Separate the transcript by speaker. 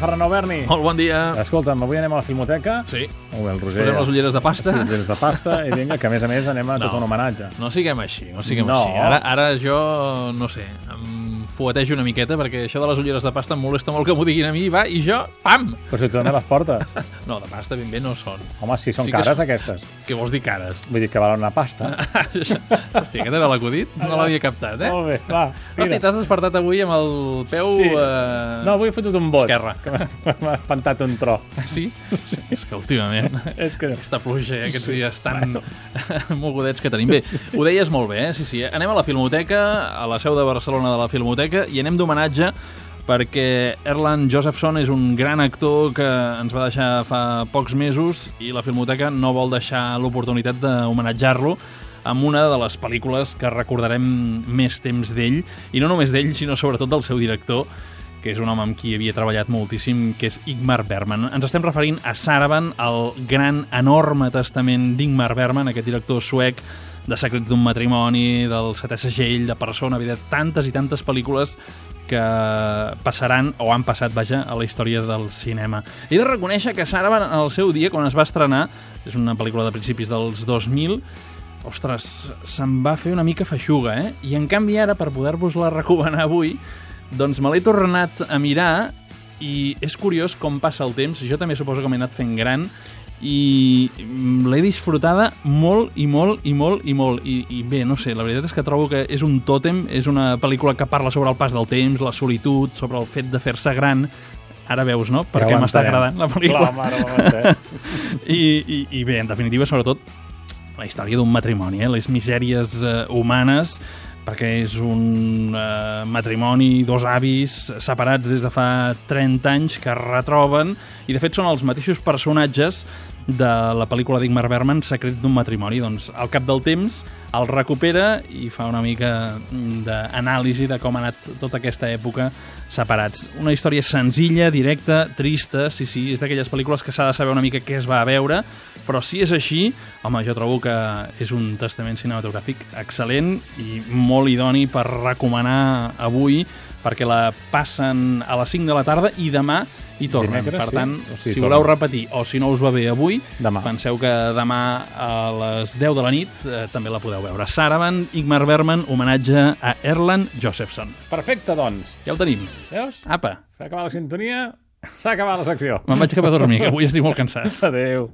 Speaker 1: Ferran Alberni.
Speaker 2: Molt bon dia.
Speaker 1: Escolta'm, avui anem a la Filmoteca.
Speaker 2: Sí.
Speaker 1: Molt bé, el Roger...
Speaker 2: Posem les ulleres de pasta.
Speaker 1: Sí, des de pasta, i vinga, que a més a més anem a
Speaker 2: No.
Speaker 1: tot un homenatge.
Speaker 2: No siguem així, no siguem
Speaker 1: No.
Speaker 2: així. Ara, ara jo, no sé, em fuetejo una miqueta perquè això de les ulleres de pasta em molesta molt que m'ho diguin a mi, va, i jo, pam!
Speaker 1: Però si tu també les portes.
Speaker 2: No, de pasta ben bé no són.
Speaker 1: Home, si són
Speaker 2: Sí
Speaker 1: sí
Speaker 2: que
Speaker 1: cares,
Speaker 2: són.
Speaker 1: aquestes.
Speaker 2: Què vols dir cares?
Speaker 1: Vull dir que valen una pasta.
Speaker 2: Hòstia, aquest era l'acudit? No l'havia captat, eh?
Speaker 1: Molt bé, va,
Speaker 2: Hosti,
Speaker 1: tira.
Speaker 2: t'has despertat avui amb el peu...
Speaker 1: Sí.
Speaker 2: Eh...
Speaker 1: No, avui he fotut un bot.
Speaker 2: Esquerra.
Speaker 1: que m'ha- M'ha espantat un tro.
Speaker 2: Sí? És que últimament...
Speaker 1: És que...
Speaker 2: Aquesta pluja, eh? aquests dies tan mogudets que tenim. Bé, ho deies molt bé, eh? Sí, sí. Anem a la Filmoteca, a la seu de Barcelona de la Filmoteca, i anem d'homenatge perquè Erland Josephson és un gran actor que ens va deixar fa pocs mesos i la Filmoteca no vol deixar l'oportunitat d'homenatjar-lo amb una de les pel·lícules que recordarem més temps d'ell, i no només d'ell, sinó sobretot del seu director, que és un home amb qui havia treballat moltíssim, que és Igmar Berman. Ens estem referint a Saravan, el gran, enorme testament d'Igmar Berman, aquest director suec de Secret d'un matrimoni, del setè segell, de persona, bé, de tantes i tantes pel·lícules que passaran, o han passat, vaja, a la història del cinema. He de reconèixer que Saravan, en el seu dia, quan es va estrenar, és una pel·lícula de principis dels 2000, ostres, se'n va fer una mica feixuga, eh? I en canvi ara, per poder-vos-la recomanar avui, doncs me l'he tornat a mirar i és curiós com passa el temps. Jo també suposo que m'he anat fent gran i mm, l'he disfrutada molt i molt i molt i molt I, i bé, no sé, la veritat és que trobo que és un tòtem, és una pel·lícula que parla sobre el pas del temps, la solitud, sobre el fet de fer-se gran ara veus, no? Perquè
Speaker 1: Ja ho
Speaker 2: m'està
Speaker 1: entenem.
Speaker 2: agradant la pel·lícula
Speaker 1: Clar, mare, eh? ho entenc.
Speaker 2: i, i, i bé, en definitiva, sobretot la història d'un matrimoni, eh? les misèries eh, humanes, perquè és un eh, matrimoni, dos avis separats des de fa 30 anys que es retroben i de fet són els mateixos personatges de la pel·lícula d'Igmar Berman, Secrets d'un matrimoni. Doncs al cap del temps el recupera i fa una mica mm, d'anàlisi de com ha anat tota aquesta època separats. Una història senzilla, directa, trista, sí, sí, és d'aquelles pel·lícules que s'ha de saber una mica què es va a veure, però si és així, home, jo trobo que és un testament cinematogràfic excel·lent i molt idoni per recomanar avui, perquè la passen a les 5 de la tarda i demà hi tornen.
Speaker 1: Dimecres,
Speaker 2: per
Speaker 1: sí?
Speaker 2: tant,
Speaker 1: O
Speaker 2: sí,
Speaker 1: sigui,
Speaker 2: si voleu
Speaker 1: tornen.
Speaker 2: repetir o si no us va bé avui,
Speaker 1: Demà.
Speaker 2: penseu que demà a les 10 de la nit eh, també la podeu veure. Saravan, Igmar Berman, homenatge a Erland Josephson.
Speaker 1: Perfecte, doncs.
Speaker 2: Ja ho tenim.
Speaker 1: Veus?
Speaker 2: Apa,
Speaker 1: S'ha acabat la sintonia, s'ha acabat la secció.
Speaker 2: me'n vaig cap a dormir, que avui estic molt cansat.
Speaker 1: Adéu.